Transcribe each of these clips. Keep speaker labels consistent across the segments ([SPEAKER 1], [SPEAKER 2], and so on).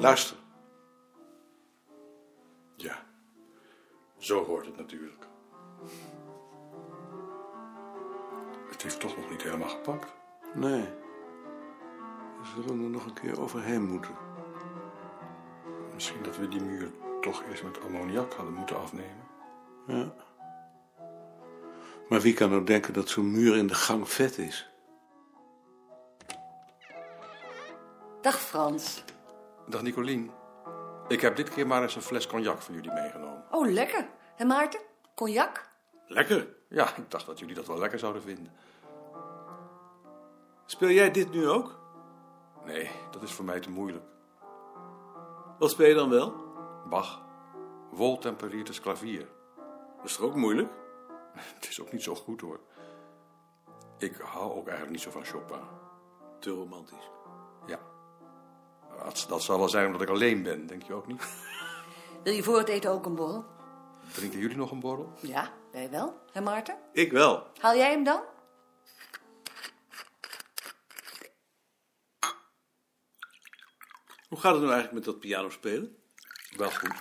[SPEAKER 1] Luister. Ja, zo hoort het natuurlijk. Het heeft toch nog niet helemaal gepakt.
[SPEAKER 2] Nee. We zullen er nog een keer overheen moeten.
[SPEAKER 1] Misschien dat we die muur toch eerst met ammoniak hadden moeten afnemen.
[SPEAKER 2] Ja. Maar wie kan nou denken dat zo'n muur in de gang vet is?
[SPEAKER 3] Dag Frans.
[SPEAKER 1] Dag Nicolien. Ik heb dit keer maar eens een fles cognac voor jullie meegenomen.
[SPEAKER 3] Oh, lekker. En Maarten, cognac?
[SPEAKER 1] Lekker? Ja, ik dacht dat jullie dat wel lekker zouden vinden.
[SPEAKER 4] Speel jij dit nu ook?
[SPEAKER 1] Nee, dat is voor mij te moeilijk.
[SPEAKER 4] Wat speel je dan wel?
[SPEAKER 1] Bach, woltemperiert klavier.
[SPEAKER 4] Dat is toch ook moeilijk?
[SPEAKER 1] Het is ook niet zo goed hoor. Ik hou ook eigenlijk niet zo van Chopin.
[SPEAKER 4] Te romantisch.
[SPEAKER 1] Ja. Dat, dat zal wel zijn omdat ik alleen ben, denk je ook niet?
[SPEAKER 3] Wil je voor het eten ook een borrel?
[SPEAKER 1] Drinken jullie nog een borrel?
[SPEAKER 3] Ja, wij wel. En Maarten,
[SPEAKER 4] Ik wel.
[SPEAKER 3] haal jij hem dan?
[SPEAKER 4] Hoe gaat het nou eigenlijk met dat pianospelen?
[SPEAKER 1] Wel goed.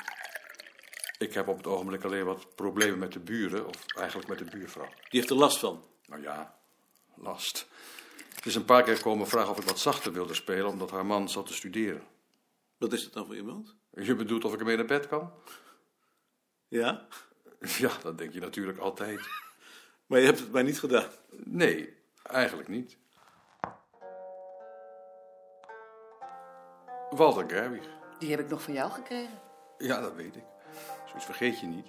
[SPEAKER 1] Ik heb op het ogenblik alleen wat problemen met de buren, of eigenlijk met de buurvrouw.
[SPEAKER 4] Die heeft er last van.
[SPEAKER 1] Nou ja, last. Het is een paar keer komen vragen of ik wat zachter wilde spelen, omdat haar man zat te studeren.
[SPEAKER 4] Wat is dat dan voor iemand?
[SPEAKER 1] Je bedoelt of ik ermee naar bed kan?
[SPEAKER 4] Ja,
[SPEAKER 1] Ja, dat denk je natuurlijk altijd.
[SPEAKER 4] maar je hebt het mij niet gedaan.
[SPEAKER 1] Nee, eigenlijk niet. Walter Gerwig.
[SPEAKER 3] Die heb ik nog van jou gekregen.
[SPEAKER 1] Ja, dat weet ik. Zoiets vergeet je niet.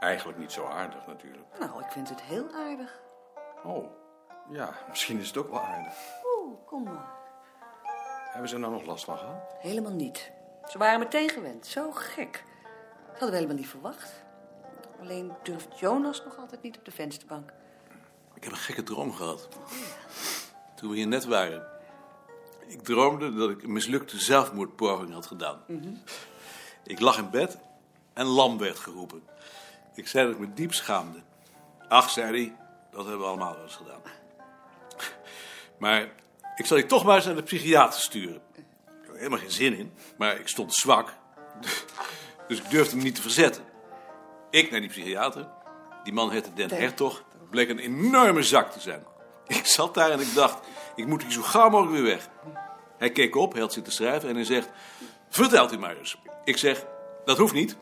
[SPEAKER 1] Eigenlijk niet zo aardig natuurlijk.
[SPEAKER 3] Nou, ik vind het heel aardig.
[SPEAKER 1] Oh, ja, misschien is het ook wel aardig.
[SPEAKER 3] Oeh, kom maar.
[SPEAKER 1] Hebben ze er nou nog last van gehad?
[SPEAKER 3] Helemaal niet. Ze waren meteen gewend. Zo gek. Dat hadden we helemaal niet verwacht. Alleen durft Jonas nog altijd niet op de vensterbank.
[SPEAKER 4] Ik heb een gekke droom gehad. Toen we hier net waren. Ik droomde dat ik een mislukte zelfmoordpoging had gedaan. Ik lag in bed en lam werd geroepen. Ik zei dat ik me diep schaamde. Ach, zei hij, dat hebben we allemaal wel eens gedaan. Maar ik zal je toch maar eens naar de psychiater sturen. Ik had er helemaal geen zin in, maar ik stond zwak. Dus ik durfde me niet te verzetten. Ik naar die psychiater. Die man heette Den Hertog. Bleek een enorme zak te zijn. Ik zat daar en ik dacht, ik moet hier zo gauw mogelijk weer weg. Hij keek op, hij had zitten schrijven en hij zegt... Vertelt u maar eens. Ik zeg, dat hoeft niet.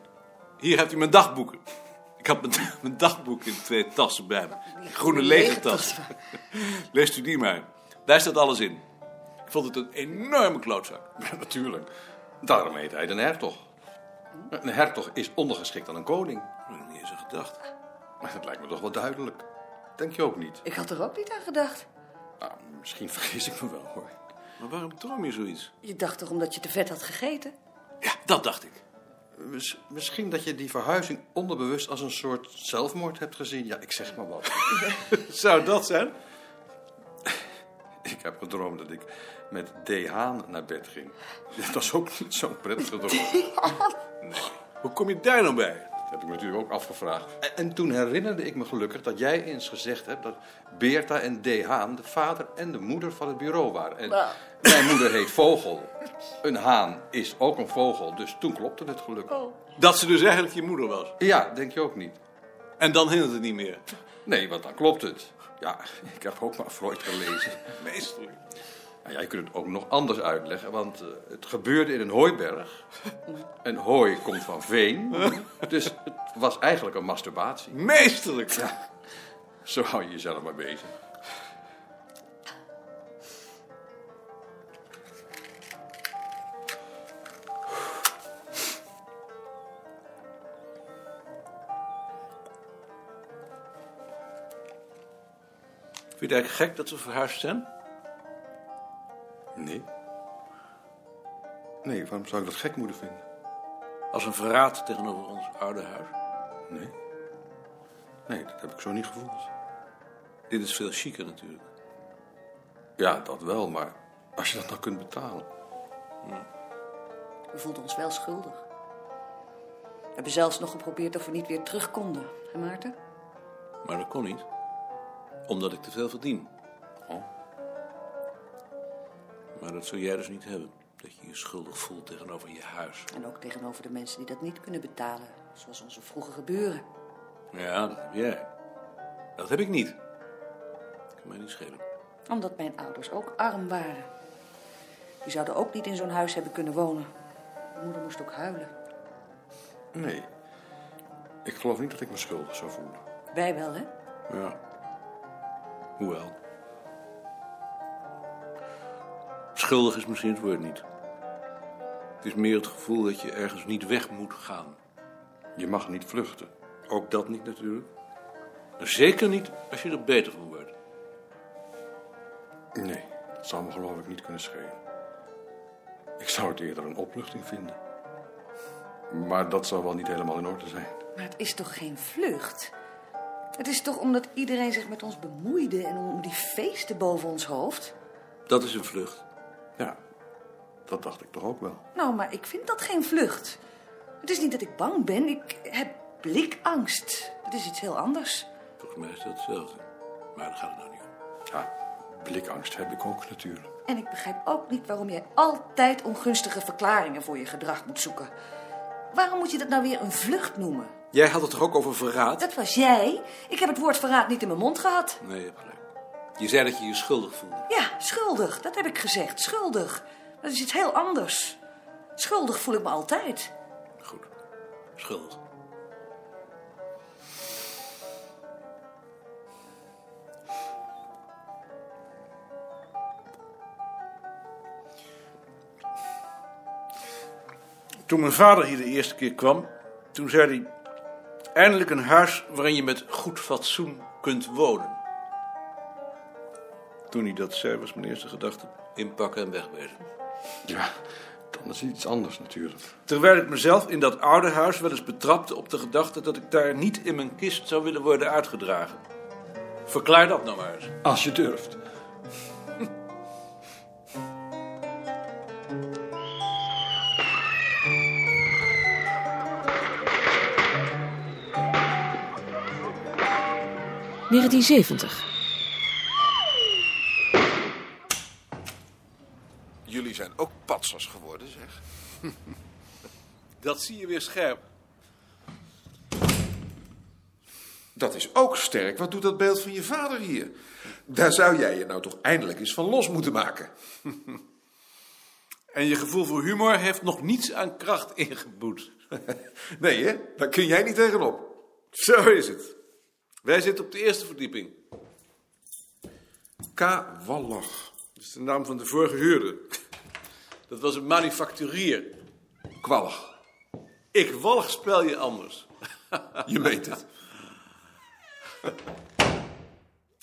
[SPEAKER 4] Hier hebt u mijn dagboeken. Ik had mijn, mijn dagboek in twee tassen bij me. Een groene lege tas. Leest u die maar. Daar staat alles in. Ik vond het een enorme klootzak.
[SPEAKER 1] natuurlijk. Daarom heet hij een hertog. Een hertog is ondergeschikt aan een koning.
[SPEAKER 4] Ik had er niet eens aan gedacht.
[SPEAKER 1] Maar dat lijkt me toch wel duidelijk. Denk je ook niet?
[SPEAKER 3] Ik had er ook niet aan gedacht.
[SPEAKER 1] Nou, misschien vergis ik me wel hoor.
[SPEAKER 4] Maar waarom droom je zoiets?
[SPEAKER 3] Je dacht toch omdat je te vet had gegeten?
[SPEAKER 4] Ja, dat dacht ik.
[SPEAKER 1] Miss- misschien dat je die verhuizing onderbewust als een soort zelfmoord hebt gezien. Ja, ik zeg maar wat.
[SPEAKER 4] Zou dat zijn?
[SPEAKER 1] Ik heb gedroomd dat ik met D. Haan naar bed ging. Dat was ook niet zo'n prettige droom.
[SPEAKER 4] Hoe kom je daar nou bij?
[SPEAKER 1] Dat heb ik me natuurlijk ook afgevraagd. En, en toen herinnerde ik me gelukkig dat jij eens gezegd hebt dat Beerta en D. Haan de vader en de moeder van het bureau waren. En
[SPEAKER 3] Nou.
[SPEAKER 1] mijn moeder heet Vogel. Een haan is ook een vogel, dus toen klopte het gelukkig.
[SPEAKER 4] Dat ze dus eigenlijk je moeder was.
[SPEAKER 1] Ja, denk je ook niet?
[SPEAKER 4] En dan hindert het niet meer.
[SPEAKER 1] Nee, want dan klopt het. Ja, ik heb ook maar Freud gelezen.
[SPEAKER 4] Meesterlijk.
[SPEAKER 1] Nou ja, je kunt het ook nog anders uitleggen, want eh, het gebeurde in een hooiberg. En hooi komt van veen, dus het was eigenlijk een masturbatie.
[SPEAKER 4] Meesterlijk.
[SPEAKER 1] Zo hou je jezelf maar bezig.
[SPEAKER 4] Vind je het eigenlijk gek dat ze verhuisd zijn?
[SPEAKER 1] Nee. Nee, waarom zou ik dat gek moeten vinden?
[SPEAKER 4] Als een verraad tegenover ons oude huis.
[SPEAKER 1] Nee. Nee, dat heb ik zo niet gevoeld.
[SPEAKER 4] Dit is veel chiquer natuurlijk.
[SPEAKER 1] Ja, dat wel, maar als je dat nou kunt betalen.
[SPEAKER 3] We voelden ons wel schuldig. We hebben zelfs nog geprobeerd of we niet weer terug konden. Hè, Maarten?
[SPEAKER 4] Maar dat kon niet. Omdat ik te veel verdien.
[SPEAKER 1] Oh.
[SPEAKER 4] Maar dat zul jij dus niet hebben. Dat je je schuldig voelt tegenover je huis.
[SPEAKER 3] En ook tegenover de mensen die dat niet kunnen betalen. Zoals onze vroegere buren.
[SPEAKER 4] Ja, dat heb jij. Dat heb ik niet. Kan mij niet schelen.
[SPEAKER 3] Omdat mijn ouders ook arm waren. Die zouden ook niet in zo'n huis hebben kunnen wonen. Mijn moeder moest ook huilen.
[SPEAKER 5] Nee. Ik geloof niet dat ik me schuldig zou voelen.
[SPEAKER 3] Wij wel, hè?
[SPEAKER 4] Ja. Hoewel. Schuldig is misschien het woord niet. Het is meer het gevoel dat je ergens niet weg moet gaan.
[SPEAKER 5] Je mag niet vluchten.
[SPEAKER 4] Ook dat niet natuurlijk. Maar zeker niet als je er beter van wordt.
[SPEAKER 5] Nee, dat zou me geloof ik niet kunnen schelen. Ik zou het eerder een opluchting vinden. Maar dat zou wel niet helemaal in orde zijn.
[SPEAKER 3] Maar het is toch geen vlucht? Het is toch omdat iedereen zich met ons bemoeide en om die feesten boven ons hoofd?
[SPEAKER 4] Dat is een vlucht.
[SPEAKER 5] Ja, dat dacht ik toch ook wel.
[SPEAKER 3] Nou, maar ik vind dat geen vlucht. Het is niet dat ik bang ben, ik heb blikangst. Dat is iets heel anders.
[SPEAKER 4] Volgens mij is dat hetzelfde. Maar daar gaat het nou niet om.
[SPEAKER 5] Ja, blikangst heb ik ook natuurlijk.
[SPEAKER 3] En ik begrijp ook niet waarom jij altijd ongunstige verklaringen voor je gedrag moet zoeken. Waarom moet je dat nou weer een vlucht noemen?
[SPEAKER 4] Jij had het toch ook over verraad?
[SPEAKER 3] Dat was jij. Ik heb het woord verraad niet in mijn mond gehad.
[SPEAKER 4] Nee, je hebt gelijk. Je zei dat je je schuldig voelde.
[SPEAKER 3] Ja, schuldig. Dat heb ik gezegd. Schuldig. Dat is iets heel anders. Schuldig voel ik me altijd.
[SPEAKER 4] Goed. Schuldig. Toen mijn vader hier de eerste keer kwam, toen zei hij... Eindelijk een huis waarin je met goed fatsoen kunt wonen. Toen hij dat zei, was mijn eerste gedachte... Inpakken en wegwezen.
[SPEAKER 5] Ja, dan is het iets anders natuurlijk.
[SPEAKER 4] Terwijl ik mezelf in dat oude huis wel eens betrapte op de gedachte... dat ik daar niet in mijn kist zou willen worden uitgedragen. Verklaar dat nou maar eens.
[SPEAKER 5] Als je durft.
[SPEAKER 1] Jullie zijn ook patsers geworden, zeg.
[SPEAKER 4] Dat zie je weer scherp.
[SPEAKER 1] Dat is ook sterk. Wat doet dat beeld van je vader hier? Daar zou jij je nou toch eindelijk eens van los moeten maken.
[SPEAKER 4] En je gevoel voor humor heeft nog niets aan kracht ingeboet.
[SPEAKER 1] Nee, hè? Daar kun jij niet tegenop.
[SPEAKER 4] Zo is het. Wij zitten op de eerste verdieping.
[SPEAKER 1] K. Wallach.
[SPEAKER 4] Dat is de naam van de vorige huurder. Dat was een manufacturier.
[SPEAKER 1] Kwallig.
[SPEAKER 4] Ik walg spel je anders.
[SPEAKER 1] Je meent het.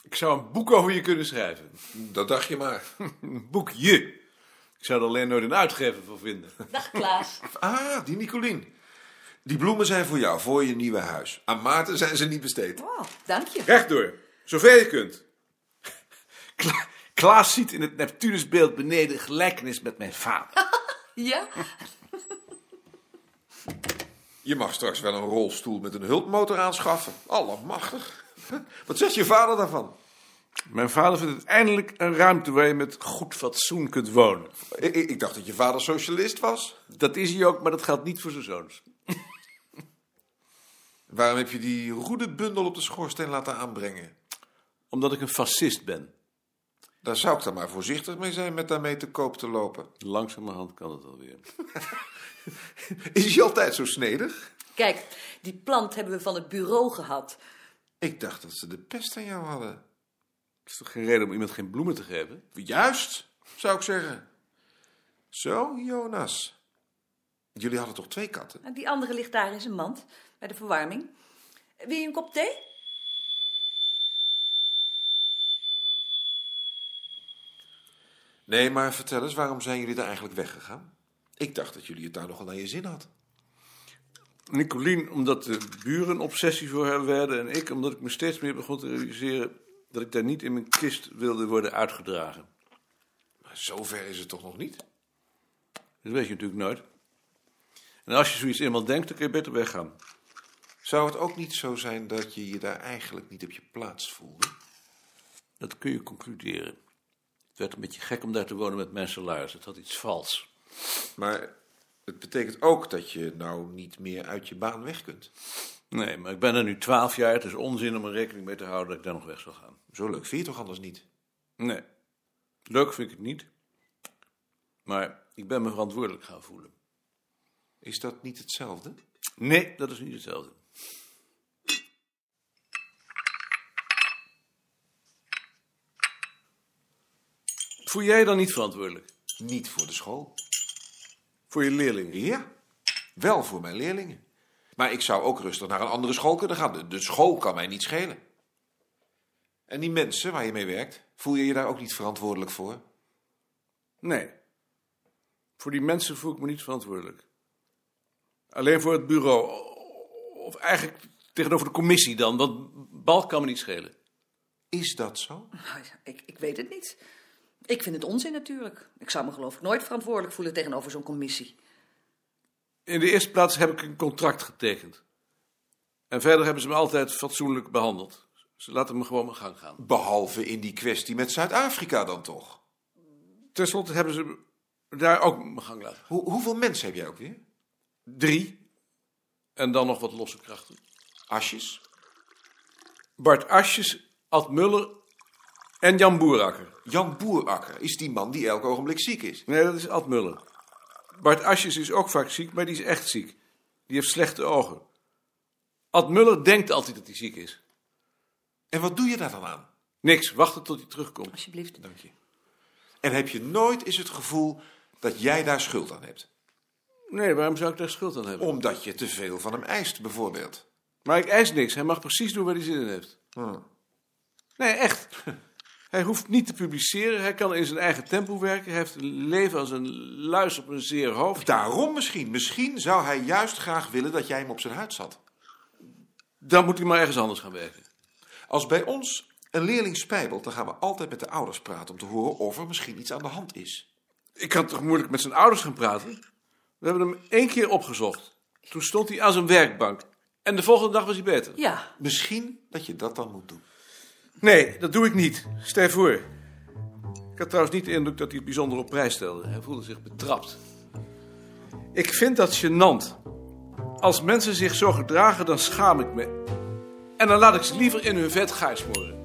[SPEAKER 4] Ik zou een boek over je kunnen schrijven.
[SPEAKER 1] Dat dacht je maar.
[SPEAKER 4] Een boekje. Ik zou er alleen nooit een uitgever voor vinden.
[SPEAKER 3] Dag Klaas.
[SPEAKER 1] Ah, die Nicolien. Die bloemen zijn voor jou, voor je nieuwe huis. Aan Maarten zijn ze niet besteed.
[SPEAKER 3] Wow, dank je.
[SPEAKER 4] Rechtdoor, zover je kunt. Kla- Klaas ziet in het Neptunusbeeld beneden een gelijkenis met mijn vader.
[SPEAKER 3] Ja?
[SPEAKER 1] Je mag straks wel een rolstoel met een hulpmotor aanschaffen. Allemachtig. Wat zegt je vader daarvan?
[SPEAKER 4] Mijn vader vindt het eindelijk een ruimte waar je met goed fatsoen kunt wonen.
[SPEAKER 1] Ik, ik ik dacht dat je vader socialist was.
[SPEAKER 4] Dat is hij ook, maar dat geldt niet voor zijn zoons.
[SPEAKER 1] Waarom heb je die roede bundel op de schoorsteen laten aanbrengen?
[SPEAKER 4] Omdat ik een fascist ben.
[SPEAKER 1] Daar zou ik dan maar voorzichtig mee zijn met daarmee te koop te lopen.
[SPEAKER 4] Langzamerhand kan het alweer.
[SPEAKER 1] Is je altijd zo snedig?
[SPEAKER 3] Kijk, die plant hebben we van het bureau gehad.
[SPEAKER 1] Ik dacht dat ze de pest aan jou hadden.
[SPEAKER 4] Het is toch geen reden om iemand geen bloemen te geven?
[SPEAKER 1] Juist, zou ik zeggen. Zo, Jonas. Jullie hadden toch twee katten?
[SPEAKER 3] En Die andere ligt daar in zijn mand, bij de verwarming. Wil je een kop thee?
[SPEAKER 1] Nee, maar vertel eens, waarom zijn jullie daar eigenlijk weggegaan? Ik dacht dat jullie het daar nogal naar je zin hadden.
[SPEAKER 4] Nicolien, omdat de buren een obsessie voor haar werden... en ik, omdat ik me steeds meer begon te realiseren... dat ik daar niet in mijn kist wilde worden uitgedragen.
[SPEAKER 1] Maar zover is het toch nog niet?
[SPEAKER 4] Dat weet je natuurlijk nooit. En als je zoiets eenmaal denkt, dan kun je beter weggaan.
[SPEAKER 1] Zou het ook niet zo zijn dat je je daar eigenlijk niet op je plaats voelde?
[SPEAKER 4] Dat kun je concluderen. Het werd een beetje gek om daar te wonen met mijn salaris. Het had iets vals.
[SPEAKER 6] Maar het betekent ook dat je nou niet meer uit je baan weg kunt.
[SPEAKER 4] Nee, maar ik ben er nu twaalf jaar. Het is onzin om er rekening mee te houden dat ik daar nog weg zal gaan.
[SPEAKER 6] Zo leuk vind je het toch anders niet?
[SPEAKER 4] Nee. Leuk vind ik het niet. Maar ik ben me verantwoordelijk gaan voelen.
[SPEAKER 6] Is dat niet hetzelfde?
[SPEAKER 4] Nee, dat is niet hetzelfde. Voel jij je dan niet verantwoordelijk?
[SPEAKER 6] Niet voor de school.
[SPEAKER 4] Voor je leerlingen?
[SPEAKER 6] Ja, wel voor mijn leerlingen. Maar ik zou ook rustig naar een andere school kunnen gaan. De, de school kan mij niet schelen. En die mensen waar je mee werkt, voel je je daar ook niet verantwoordelijk voor?
[SPEAKER 4] Nee. Voor die mensen voel ik me niet verantwoordelijk. Alleen voor het bureau. Of eigenlijk tegenover de commissie dan, want Balk kan me niet schelen.
[SPEAKER 6] Is dat zo?
[SPEAKER 3] Nou ja, ik, ik weet het niet. Ik vind het onzin natuurlijk. Ik zou me geloof ik nooit verantwoordelijk voelen tegenover zo'n commissie.
[SPEAKER 4] In de eerste plaats heb ik een contract getekend. En verder hebben ze me altijd fatsoenlijk behandeld. Ze laten me gewoon mijn gang gaan.
[SPEAKER 6] Behalve in die kwestie met Zuid-Afrika dan toch?
[SPEAKER 4] Ten slotte hebben ze me daar ook mijn gang laten. gaan.
[SPEAKER 6] Hoe, hoeveel mensen heb jij ook weer?
[SPEAKER 4] Drie. En dan nog wat losse krachten.
[SPEAKER 6] Asjes?
[SPEAKER 4] Bart Asjes, Ad Muller en Jan Boerakker.
[SPEAKER 6] Jan Boerakker is die man die elk ogenblik ziek is.
[SPEAKER 4] Nee, dat is Ad Muller. Bart Asjes is ook vaak ziek, maar die is echt ziek. Die heeft slechte ogen. Ad Muller denkt altijd dat hij ziek is.
[SPEAKER 6] En wat doe je daar dan aan?
[SPEAKER 4] Niks, wachten tot hij terugkomt.
[SPEAKER 3] Alsjeblieft.
[SPEAKER 6] Dank je. En heb je nooit eens het gevoel dat jij daar schuld aan hebt?
[SPEAKER 4] Nee, waarom zou ik daar schuld aan hebben?
[SPEAKER 6] Omdat je te veel van hem eist, bijvoorbeeld.
[SPEAKER 4] Maar ik eis niks. Hij mag precies doen waar hij zin in heeft. Nee, echt. Hij hoeft niet te publiceren. Hij kan in zijn eigen tempo werken. Hij heeft een leven als een luis op een zeer hoofd.
[SPEAKER 6] Daarom misschien. Misschien zou hij juist graag willen dat jij hem op zijn huid zat.
[SPEAKER 4] Dan moet hij maar ergens anders gaan werken.
[SPEAKER 6] Als bij ons een leerling spijbelt, dan gaan we altijd met de ouders praten om te horen of er misschien iets aan de hand is.
[SPEAKER 4] Ik kan toch moeilijk met zijn ouders gaan praten? We hebben hem één keer opgezocht. Toen stond hij aan zijn werkbank. En de volgende dag was hij beter.
[SPEAKER 3] Ja,
[SPEAKER 6] Misschien dat je dat dan moet doen.
[SPEAKER 4] Nee, dat doe ik niet. Stel je voor. Ik had trouwens niet de indruk dat hij het bijzonder op prijs stelde. Hij voelde zich betrapt. Ik vind dat gênant. Als mensen zich zo gedragen, dan schaam ik me. En dan laat ik ze liever in hun vet gaar smoren.